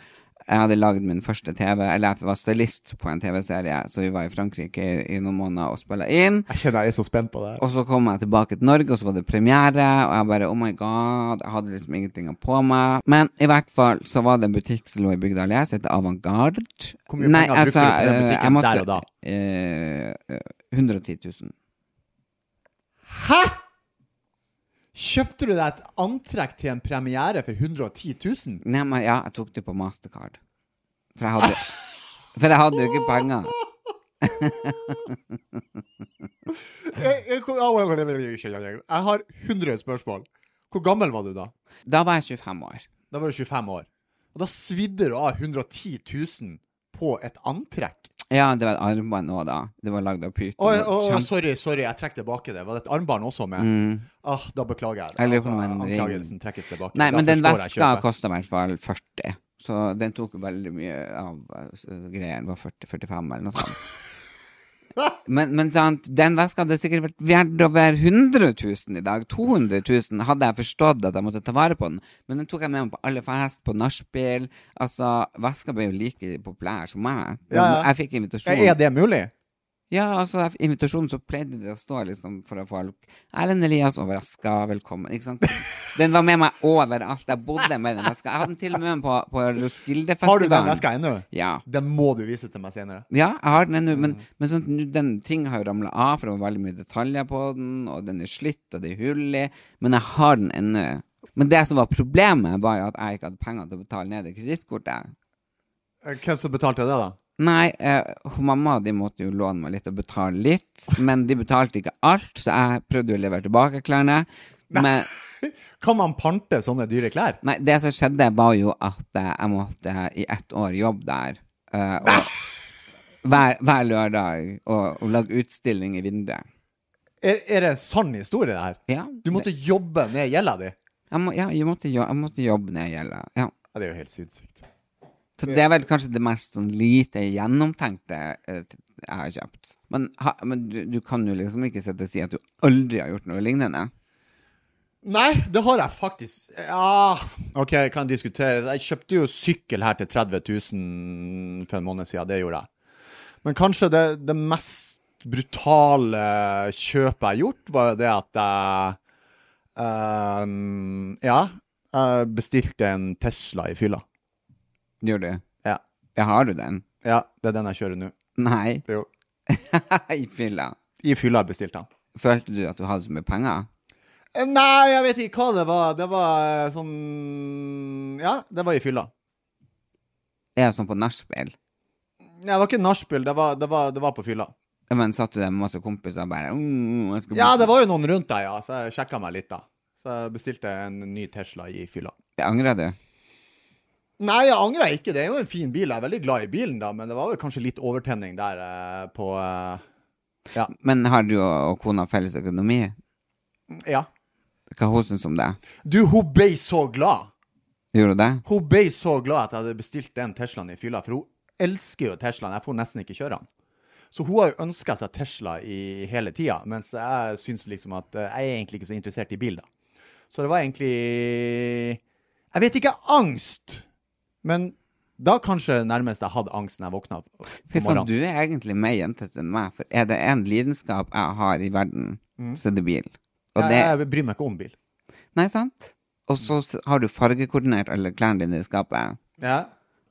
jeg hadde lagd min første TV, eller jeg var stylist på en TV-serie, så vi var i Frankrike i, i noen måneder og spilla inn. Jeg kjenner jeg er så spent på det. Og så kom jeg tilbake til Norge, og så var det premiere, og jeg bare oh my god, jeg hadde liksom ingenting på meg. Men i hvert fall så var det en butikk som lå i bygda Allé, som heter Avantgarde. Hvor mye penger brukte du på den eh, butikken jeg måtte- der og da? eh, 110 000. Hæ?! Kjøpte du deg et antrekk til en premiere for 110 000? Nei, men ja, jeg tok det på Mastercard. For jeg hadde For jeg hadde jo ikke penger. Jeg, jeg, kom- au, au, au, au, au, au, au, au. jeg har 100 spørsmål. Hvor gammel var du da? Da var jeg 25 år. Da var du 25 år. Og da svidde du av 110 000 på et antrekk. Ja, det var et armbånd nå, da. Det var lagd av pyton. Å, å, å, Kjempe- sorry, sorry, jeg trekker tilbake det. Var det et armbånd også med? Ah, da beklager jeg. Mm. Altså, Jeg lurer på om en ring- anklagelsen trekkes tilbake. Nei, Da men den forstår jeg veska kjøpet. kosta i hvert fall 40. Så den tok veldig mye av eh, greien. Var 40-45 eller noe sånt. Men, men sant, den veska hadde sikkert vært verdt over 100 000 i dag. 200 000 hadde jeg forstått at jeg måtte ta vare på den. Men den tok jeg med meg på alle fest, på nachspiel. Altså, veska ble jo like populær som meg. Ja, ja. Jeg fikk invitasjon. Er det mulig? Ja, altså i invitasjonen så pleide det å stå liksom for å få folk Erlend Elias overraska, velkommen. Ikke sant? Den var med meg overalt. Jeg bodde med den veska. Jeg hadde den til og med med på, på Roskildefestivalen. Har du den veska ennå? Ja. Den må du vise til meg senere. Ja, jeg har den ennå, men, men sånn, nu- den ting har jo ramla av, for det var veldig mye detaljer på den, og den er slitt, og det er hull i, men jeg har den ennå. Men det som var problemet, var jo at jeg ikke hadde penger til å betale ned det kredittkortet. Eh, Hvem som betalte det, da? Nei, eh, hun mamma de måtte jo låne meg litt og betale litt, men de betalte ikke alt, så jeg prøvde jo å levere tilbake klærne. Men Kan man pante sånne dyre klær? nei, det som skjedde, var jo at eh, jeg måtte i ett år jobbe der. eh, og hver, hver lørdag og, og lage utstilling i vinduet. Er, er det en sann historie, det her? Ja, Du måtte jobbe ned gjelda di? jeg, må, ja, jeg, måtte, jo- jeg måtte jobbe når jeg gjelder. Ja. Ja, det er jo helt sinnssykt. Så det er vel kanskje det mest sånn lite gjennomtenkte eh, jeg har kjøpt. Men, ha, men du, du kan jo liksom ikke sitte og si at du aldri har gjort noe lignende. Nei, det har jeg faktisk Ja, OK, jeg kan diskutere. Jeg kjøpte jo sykkel her til 30 000 for en måned siden. Det gjorde jeg. Men kanskje det, det mest brutale kjøpet jeg har gjort, var jo det at jeg ehm, Ja, jeg bestilte en Tesla i fylla. Gjør du? Ja. Ja, har du den? ja, det er den jeg kjører nå. Nei. Jo. I fylla. I fylla bestilte han. Følte du at du hadde så mye penger? Eh, Nei, jeg vet ikke hva det var. Det var eh, sånn Ja, det var i fylla. Er det sånn på nachspiel? Nei, Det var ikke nachspiel, det, var- det, var- det var på fylla. Ja, Men satt du der med masse kompiser og bare mm, jeg skal Ja, bli- det var jo noen rundt deg, ja, så jeg sjekka meg litt, da. Så jeg bestilte en ny Tesla i fylla. Angrer du? Nei, jeg angrer ikke. Det er jo en fin bil. Jeg er veldig glad i bilen, da, men det var vel kanskje litt overtenning der eh, på eh, Men har du og og kona felles økonomi? Ja. Hva hun synes om det? Du, hun ble så glad. Gjorde hun det? Hun ble så glad at jeg hadde bestilt den Teslaen i fylla, for hun elsker jo Teslaen. Jeg får nesten ikke kjøre den. Så hun har jo ønska seg Tesla i hele tida, mens jeg syns liksom at eh, jeg er egentlig ikke så interessert i bil, da. Så det var egentlig Jeg vet ikke angst, men da kanskje det nærmeste jeg hadde angst når jeg våkna opp Fy om faen, morgenen. du er egentlig mer jentete enn meg, for er det en lidenskap jeg har i verden, så er det bil. Og det, Jeg, jeg bryr meg ikke om bil. nei, sant? Og så s- har du fargekoordinert alle klærne dine i skapet. Ja.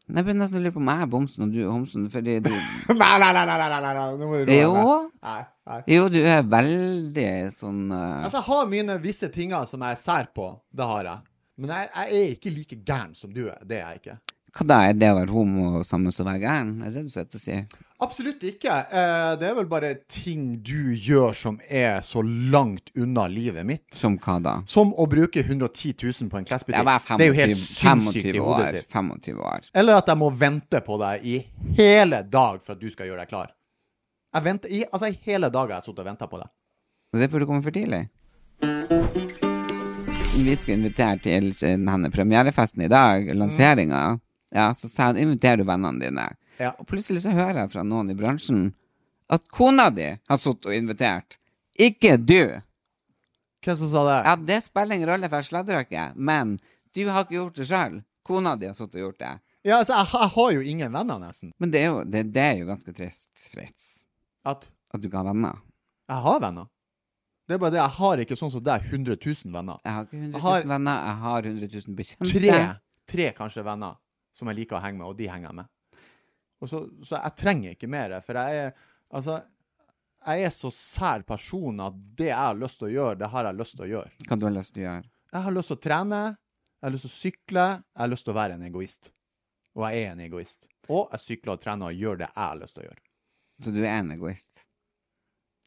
Men Jeg begynner nesten å lure på om jeg er bomsen og du er homsen, fordi du Nei, nei, nei, nei, nei, nei, nei, nå må du roe deg ned. Jo. Nei, nei. Jo, du er veldig sånn eh, Altså, jeg har mine visse tinger som jeg er sær på. Det har jeg. Men jeg, jeg er ikke like gæren som du er. Det er jeg ikke. Hva da, er det å være homo samme som å være gæren? Er det det du sitter og sier? Absolutt ikke. Eh, Det er vel bare ting du gjør som er så langt unna livet mitt. Som hva da? Som å bruke 110 000 på en Jeg var klesbutikk. 25, Det er jo helt sinnssykt 25 i hodet år. sitt. 25 år. Eller at jeg må vente på deg i hele dag for at du skal gjøre deg klar. Jeg venter, i, altså I hele dag har jeg sittet og venta på deg. Og det er fordi du kommer for tidlig. Vi skal invitere til denne premierefesten i dag, lanseringa. Ja, så sa hun inviterer du vennene dine. Ja. Og plutselig så hører jeg fra noen i bransjen at kona di har sittet og invitert. Ikke du! Hvem som sa det? Ja, det spiller ingen rolle, for jeg sladrer ikke. Men du har ikke gjort det sjøl. Kona di har sittet og gjort det. Ja, altså, jeg, ha- jeg har jo ingen venner, nesten. Men det er jo, det, det er jo ganske trist, Fritz, At at du ikke har venner. jeg har venner. Det er bare det, jeg har ikke sånn som deg 100 000 venner. Jeg har ikke 100 000 Har- venner, jeg har 100 000 bekjente. Tre, tre kanskje venner som jeg liker å henge med, og de henger jeg med. Og så, så jeg trenger ikke mer, for jeg er Altså, jeg er så sær person at det jeg har lyst til å gjøre, det har jeg lyst til å gjøre. Hva du har lyst til å gjøre? Jeg har lyst til å trene, jeg har lyst til å sykle, jeg har lyst til å være en egoist. Og jeg er en egoist. Og jeg sykler og trener og gjør det jeg har lyst til å gjøre. Så du er en egoist.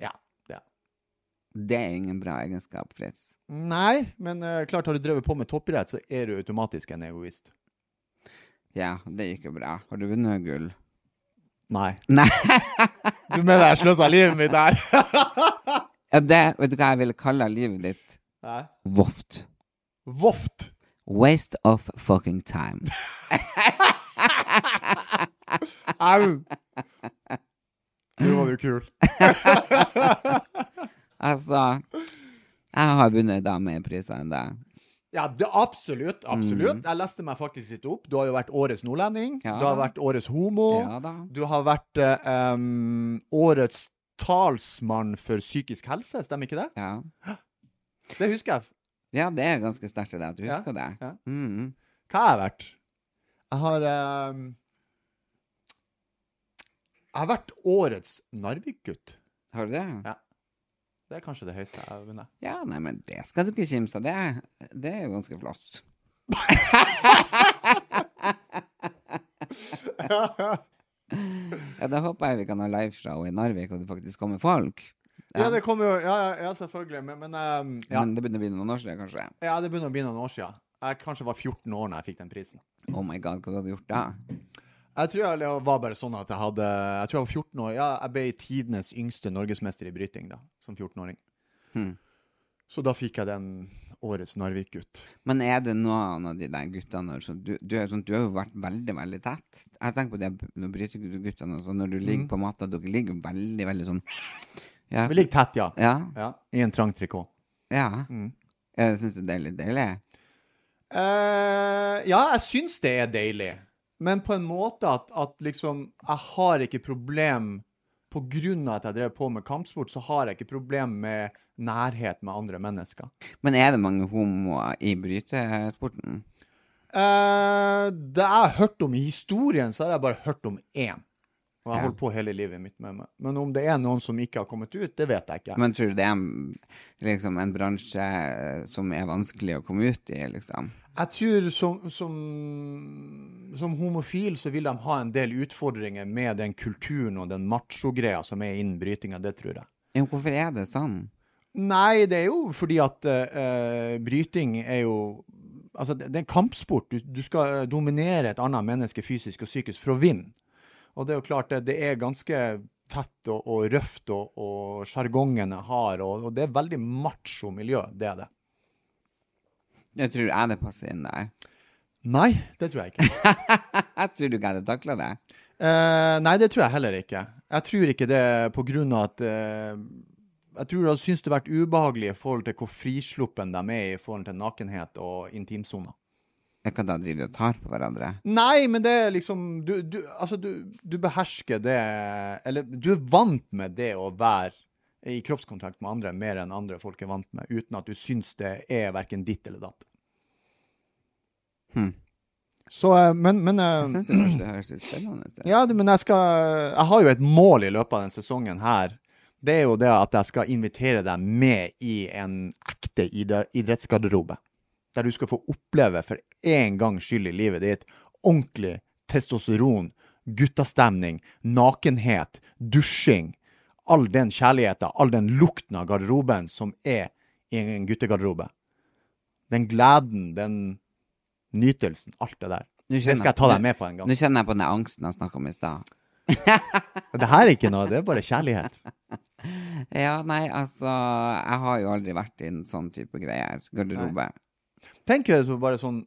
Ja, det er jeg. Det er ingen bra egenskap, Fritz. Nei, men eh, klart har du drevet på med toppidrett, så er du automatisk en egoist. Ja, det gikk jo bra. Har du vunnet gull? Nei. Nei. Du mener jeg sløser livet mitt her? Ja, det, vet du hva jeg ville kalle livet ditt? Nei. Voft. Voft. Waste of fucking time. Au. Nå var du kul. Altså, jeg har vunnet da mer priser enn deg. Ja, det, absolutt. Absolutt. Jeg leste meg faktisk litt opp. Du har jo vært årets nordlending. Mm. Ja. Du har vært årets homo. Ja da. Du har vært eh, em, årets talsmann for psykisk helse, stemmer ikke det? Ja. Det husker jeg. ja, det er ganske sterkt i deg at du husker det. ja. Mm. Hva har jeg vært? Jeg har em, Jeg har vært årets Narvik-gutt. Har du det? Ja. Det er kanskje det høyeste jeg har vunnet. Ja, nei, men det skal du ikke kimse av. Det, er- det er jo ganske flott. ja, da håper jeg vi kan ha liveshow i Narvik, og det faktisk kommer folk. Ja, det kommer jo Ja, ja, ja selvfølgelig. Men, men em, ja. Men det begynner å bli noen år siden, kanskje. ja, det begynner å bli noen år siden. Jeg kanskje var 14 år da jeg fikk den prisen. Oh my god, hva du hadde gjort da? Jeg tror jeg det var bare sånn at jeg hadde Jeg tror jeg var 14 år. Ja, jeg ble tidenes yngste norgesmester i bryting da, som 14-åring. Hmm. Så da fikk jeg den årets Narvik-gutt. Men er det noen av de der guttene som du, du, er sånn, du har jo vært veldig, veldig tett. Jeg tenker på det når bryteguttene og sånn, når du ligger på matta, dere ligger veldig, veldig sånn Ja. Vi ligger tett, ja. Ja. ja. I en trang trikot. ja. Syns du det er litt deilig? Eh, ja, jeg syns det er deilig. Men på en måte at, at liksom Jeg har ikke problem På grunn av at jeg drev på med kampsport, så har jeg ikke problem med nærhet med andre mennesker. Men er det mange homoer i brytesporten? Eh, det jeg har hørt om i historien, så har jeg bare hørt om én. Og jeg har Ja. holdt på hele livet mitt med meg. Men om det er noen som ikke har kommet ut, det vet jeg ikke. Men tror du det er en, liksom, en bransje eh, som er vanskelig å komme ut i, liksom? jeg tror som, som, som homofil så vil de ha en del utfordringer med den kulturen og den macho-greia som er innen brytinga, det tror jeg. Jo, hvorfor er det sånn? Nei, det er jo fordi at eh, eh, bryting er jo Altså, det, det er en kampsport. Du, du skal eh, dominere et annet menneske fysisk og psykisk for å vinne. Og det er jo klart, det, det er ganske tett og, og røft, og, og sjargongen er hard, og, og det er veldig macho miljø, det er det. Jeg tror jeg det passer inn der. Nei, det tror jeg ikke. Jeg tror du ikke jeg hadde takla det. Eh, nei, det tror jeg heller ikke. Jeg tror ikke det på grunn av at eh, Jeg tror det syns det har vært ubehagelig i forhold til hvor frisluppen de er i forhold til nakenhet og intimsoner. Jeg kan da drive og tar på hverandre. Nei, men det er liksom Du, du, altså du, du behersker det Eller du er vant med det å være i kroppskontakt med andre mer enn andre folk er vant med, uten at du syns det er verken ditt eller datt. Hm. Så, eh, men, men eh, Jeg syns det kanskje det høres litt spennende ut. Ja, det- men jeg skal Jeg har jo et mål i løpet av denne sesongen her. Det er jo det at jeg skal invitere deg med i en ekte idre- idrettsgarderobe. Der du skal få oppleve for én gangs skyld i livet ditt ordentlig testosteron, guttastemning, nakenhet, dusjing. All den kjærligheten, all den lukten av garderoben som er i en guttegarderobe. Den gleden, den nytelsen, alt det der. Nå Det kjenner skal jeg ta deg med på en gang. Nå kjenner jeg på den angsten jeg snakka om i stad. Det her er ikke noe, det er bare kjærlighet. Ja, nei, altså Jeg har jo aldri vært i en sånn type greier. Garderobe. Tenk deg så bare sånn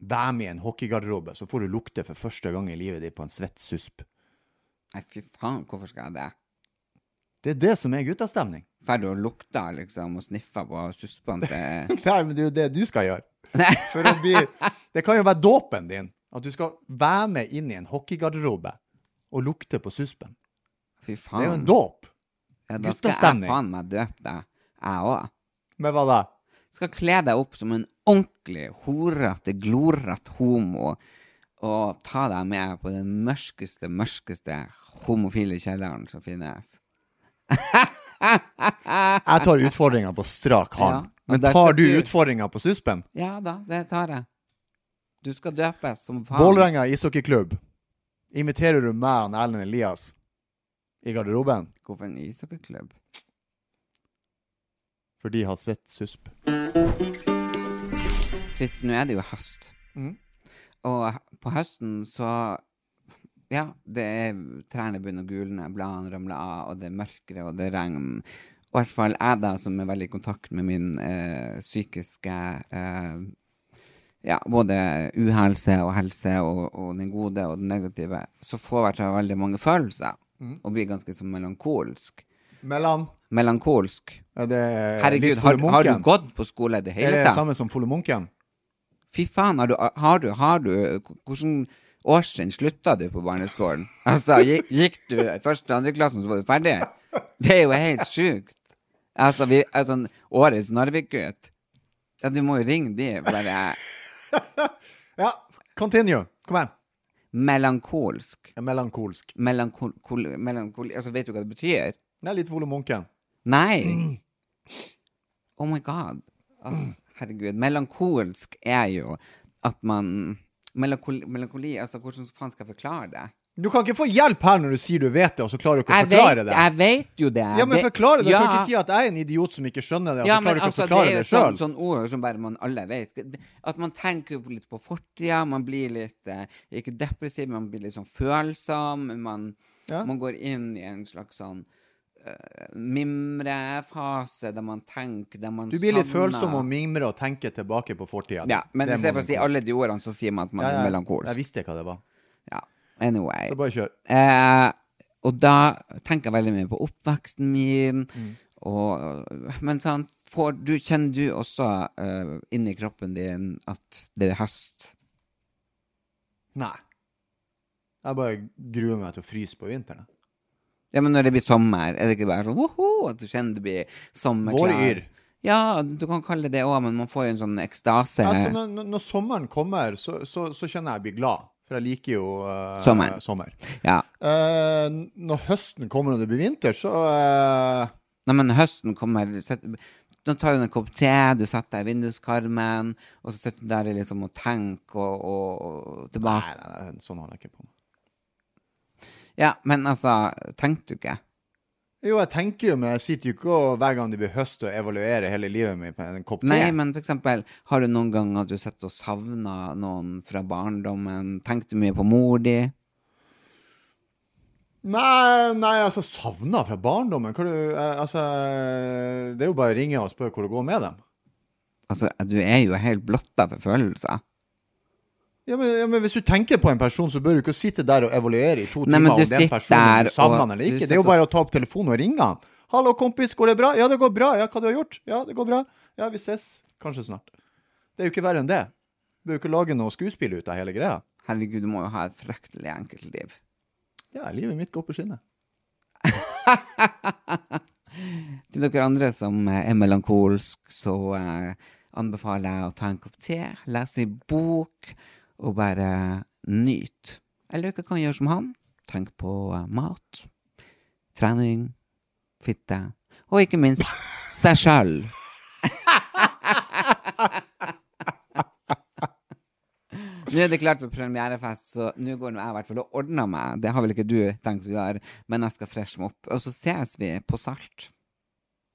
Vær med i en hockeygarderobe, så får du lukte for første gang i livet ditt på en svett susp. Nei, fy faen, hvorfor skal jeg det? Det er det som er guttastemning. Drar du og lukter liksom og sniffer på suspene til Nei, men det er jo det du skal gjøre. For å bli Det kan jo være dåpen din. At du skal være med inn i en hockeygarderobe og lukte på suspen. Fy Det er jo en faen. dåp. Ja, da skal jeg guttastemning. faen meg døpe deg, jeg òg. Men hva da? Skal kle deg opp som en ordentlig horete, glorete homo og ta deg med på den mørkeste, mørkeste homofile kjelleren som finnes. Jeg tar utfordringa på strak Ja, hånd. og Men der skal tar du du- utfordringa på suspen? Ja da, det tar jeg. Du skal døpes som faen. Vålerenga ishockeyklubb. Imiterer du meg og Erlend Elias i garderoben? Hvorfor en ishockeyklubb? For de har svett susp. Fritz, nå er det jo høst. Mhm. Og på høsten så Ja, det er trærne begynner å gulne, bladene ramler av, og det er mørkere, og det er regn. Og i hvert fall jeg, da, som er veldig i kontakt med min eh, psykiske eh, ja, Både uhelse og helse, og, og den gode og den negative, så får jeg til veldig mange følelser. Mhm. Og blir ganske så melankolsk. Mellan. Melankolsk. Er det Herregud, Eh, litt har, har du Fole Munken? Eh, gått på skole i det Er hele det tatt? samme som Fole Munken? Fy faen, har du, har du, har du Hvordan årstrinn slutta du på barneskolen? Altså, gikk, gikk du i første og andre klassen, så var du ferdig? Det er jo helt sjukt. Altså, vi, altså årets Narvik-gutt. Ja, du må jo ringe de, bare eh, Ja, continue. Kom igjen. Melankolsk. Melankolsk. Melankol... kol- melankol altså, vet du hva det betyr? Det er litt Fole Munken. Nei! Mm. Oh my god. Åh, herregud. Melankolsk er jo at man Melankoli, melankoli altså Hvordan faen skal jeg forklare det? Du kan ikke få hjelp her når du sier du vet det, og så klarer du ikke å Jeg forklare vet, det. jeg vet jo det. Ja, men Jeg vet- forklare det. Du Ja. kan ikke si at jeg er en idiot som ikke skjønner det, og ja, så men klarer du ikke altså, å forklare det er jo det et sjøl. sånt, sånn ord som bare man alle vet. At man tenker jo litt på fortida, man blir litt eh, ikke depressiv, man blir litt sånn følsom. Man, Ja. man går inn i en slags sånn eh, mimrefase der man tenker, der man Du blir litt savner. følsom og mimrer og tenker tilbake på fortida. Ja, men Det i må stedet for man å si kunne. alle de ordene, så sier man at man Ja, ja, er Jeg melankolsk. visste hva det var. Ja, anyway. Så bare kjør. Eh, og da tenker jeg veldig mye på oppveksten min. Mm. Og, men sånn, får du, kjenner du også eh, inni kroppen din at det er høst? Nei. Jeg bare gruer meg til å fryse på vinteren. Ja, men når det blir sommer, er det ikke bare sånn woho, at du kjenner det blir sommerklær? Våryr. Ja, du kan kalle det det òg, men man får jo en sånn ekstase. Altså, når, når- når sommeren kommer, så, så, så kjenner jeg jeg blir glad. For jeg liker jo eh, Sommeren. sommer. ja. Eh, når høsten kommer og det blir vinter, så eh, Nei, men høsten kommer sett, Nå tar du en kopp te, du setter deg i vinduskarmen, og så sitter du der liksom og tenker og, og, og nei, tilbake. nei, nei, sånn holder jeg ikke på med. Ja, men altså, tenkte du ikke? Jo, jeg tenker jo, men jeg sitter jo ikke og, hver gang det blir høst og evaluerer hele livet mitt på en kopp te. Nei, men for eksempel, har du noen gang at du sitter og savner noen fra barndommen? Tenkte mye på mor di? Nei, nei, altså savna fra barndommen. Hva du, eh, altså, det er jo bare å ringe og spørre hvor det går med dem. Altså, du er jo helt blotta for følelser. Ja men, ja, men hvis du tenker på en person, så bør du ikke sitte der og evaluere i to Nei, men du timer om den sitter personen der du savner og- han eller du ikke. Det er jo sitter- bare å ta opp telefonen og ringe han. 'Hallo, kompis, går det bra?' 'Ja, det går bra. Ja, hva du har gjort?' 'Ja, det går bra. Ja, vi ses kanskje snart.' Det er jo ikke verre enn det. Du bør jo ikke lage noe skuespill ut av hele greia. Herregud, du må jo ha et fryktelig enkelt liv. Ja, livet mitt går på skinner. Til dere andre som eh, er melankolsk, så eh, anbefaler jeg å ta en kopp te, lese en bok og bare nyte. Eller dere kan gjøre som han. Tenk på eh, mat, trening, fitte og ikke minst seg sjøl. Nå er det klart for premierefest, så nå går nå jeg i hvert fall og ordner meg. Det har vel ikke du tenkt å gjøre, men jeg skal freshe meg opp. Og så ses vi på Salt.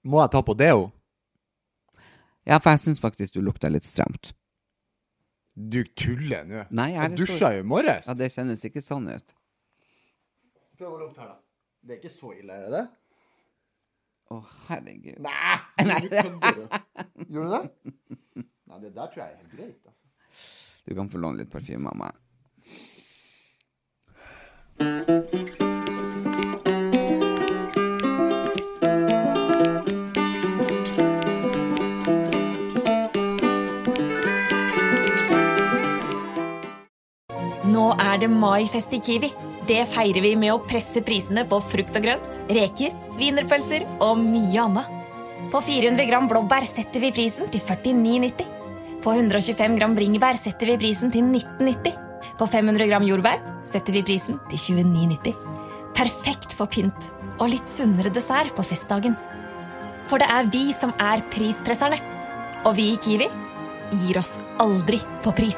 Må jeg ta på deo? Ja, for jeg syns faktisk du lukta litt stramt. Du tuller nå. Nei, jeg er jeg så- dusja jo i morges. Ja, det kjennes ikke sånn ut. Prøv å lukte her, da. Det er ikke så ille, er det det? Å, herregud. Nei! Du kødder, du. Gjorde du det? Nei, det der tror jeg er helt greit, altså. Du kan få låne litt parfyme av meg. Nå er det maifest i Kiwi. Det feirer vi med å presse prisene på frukt og grønt, reker, wienerpølser og mye annet. På 400 gram blåbær setter vi prisen til 49,90. På 125 gram bringebær setter vi prisen til 19,90. På 500 gram jordbær setter vi prisen til 29,90. Perfekt for pynt og litt sunnere dessert på festdagen. For det er vi som er prispresserne. Og vi i Kiwi gir oss aldri på pris.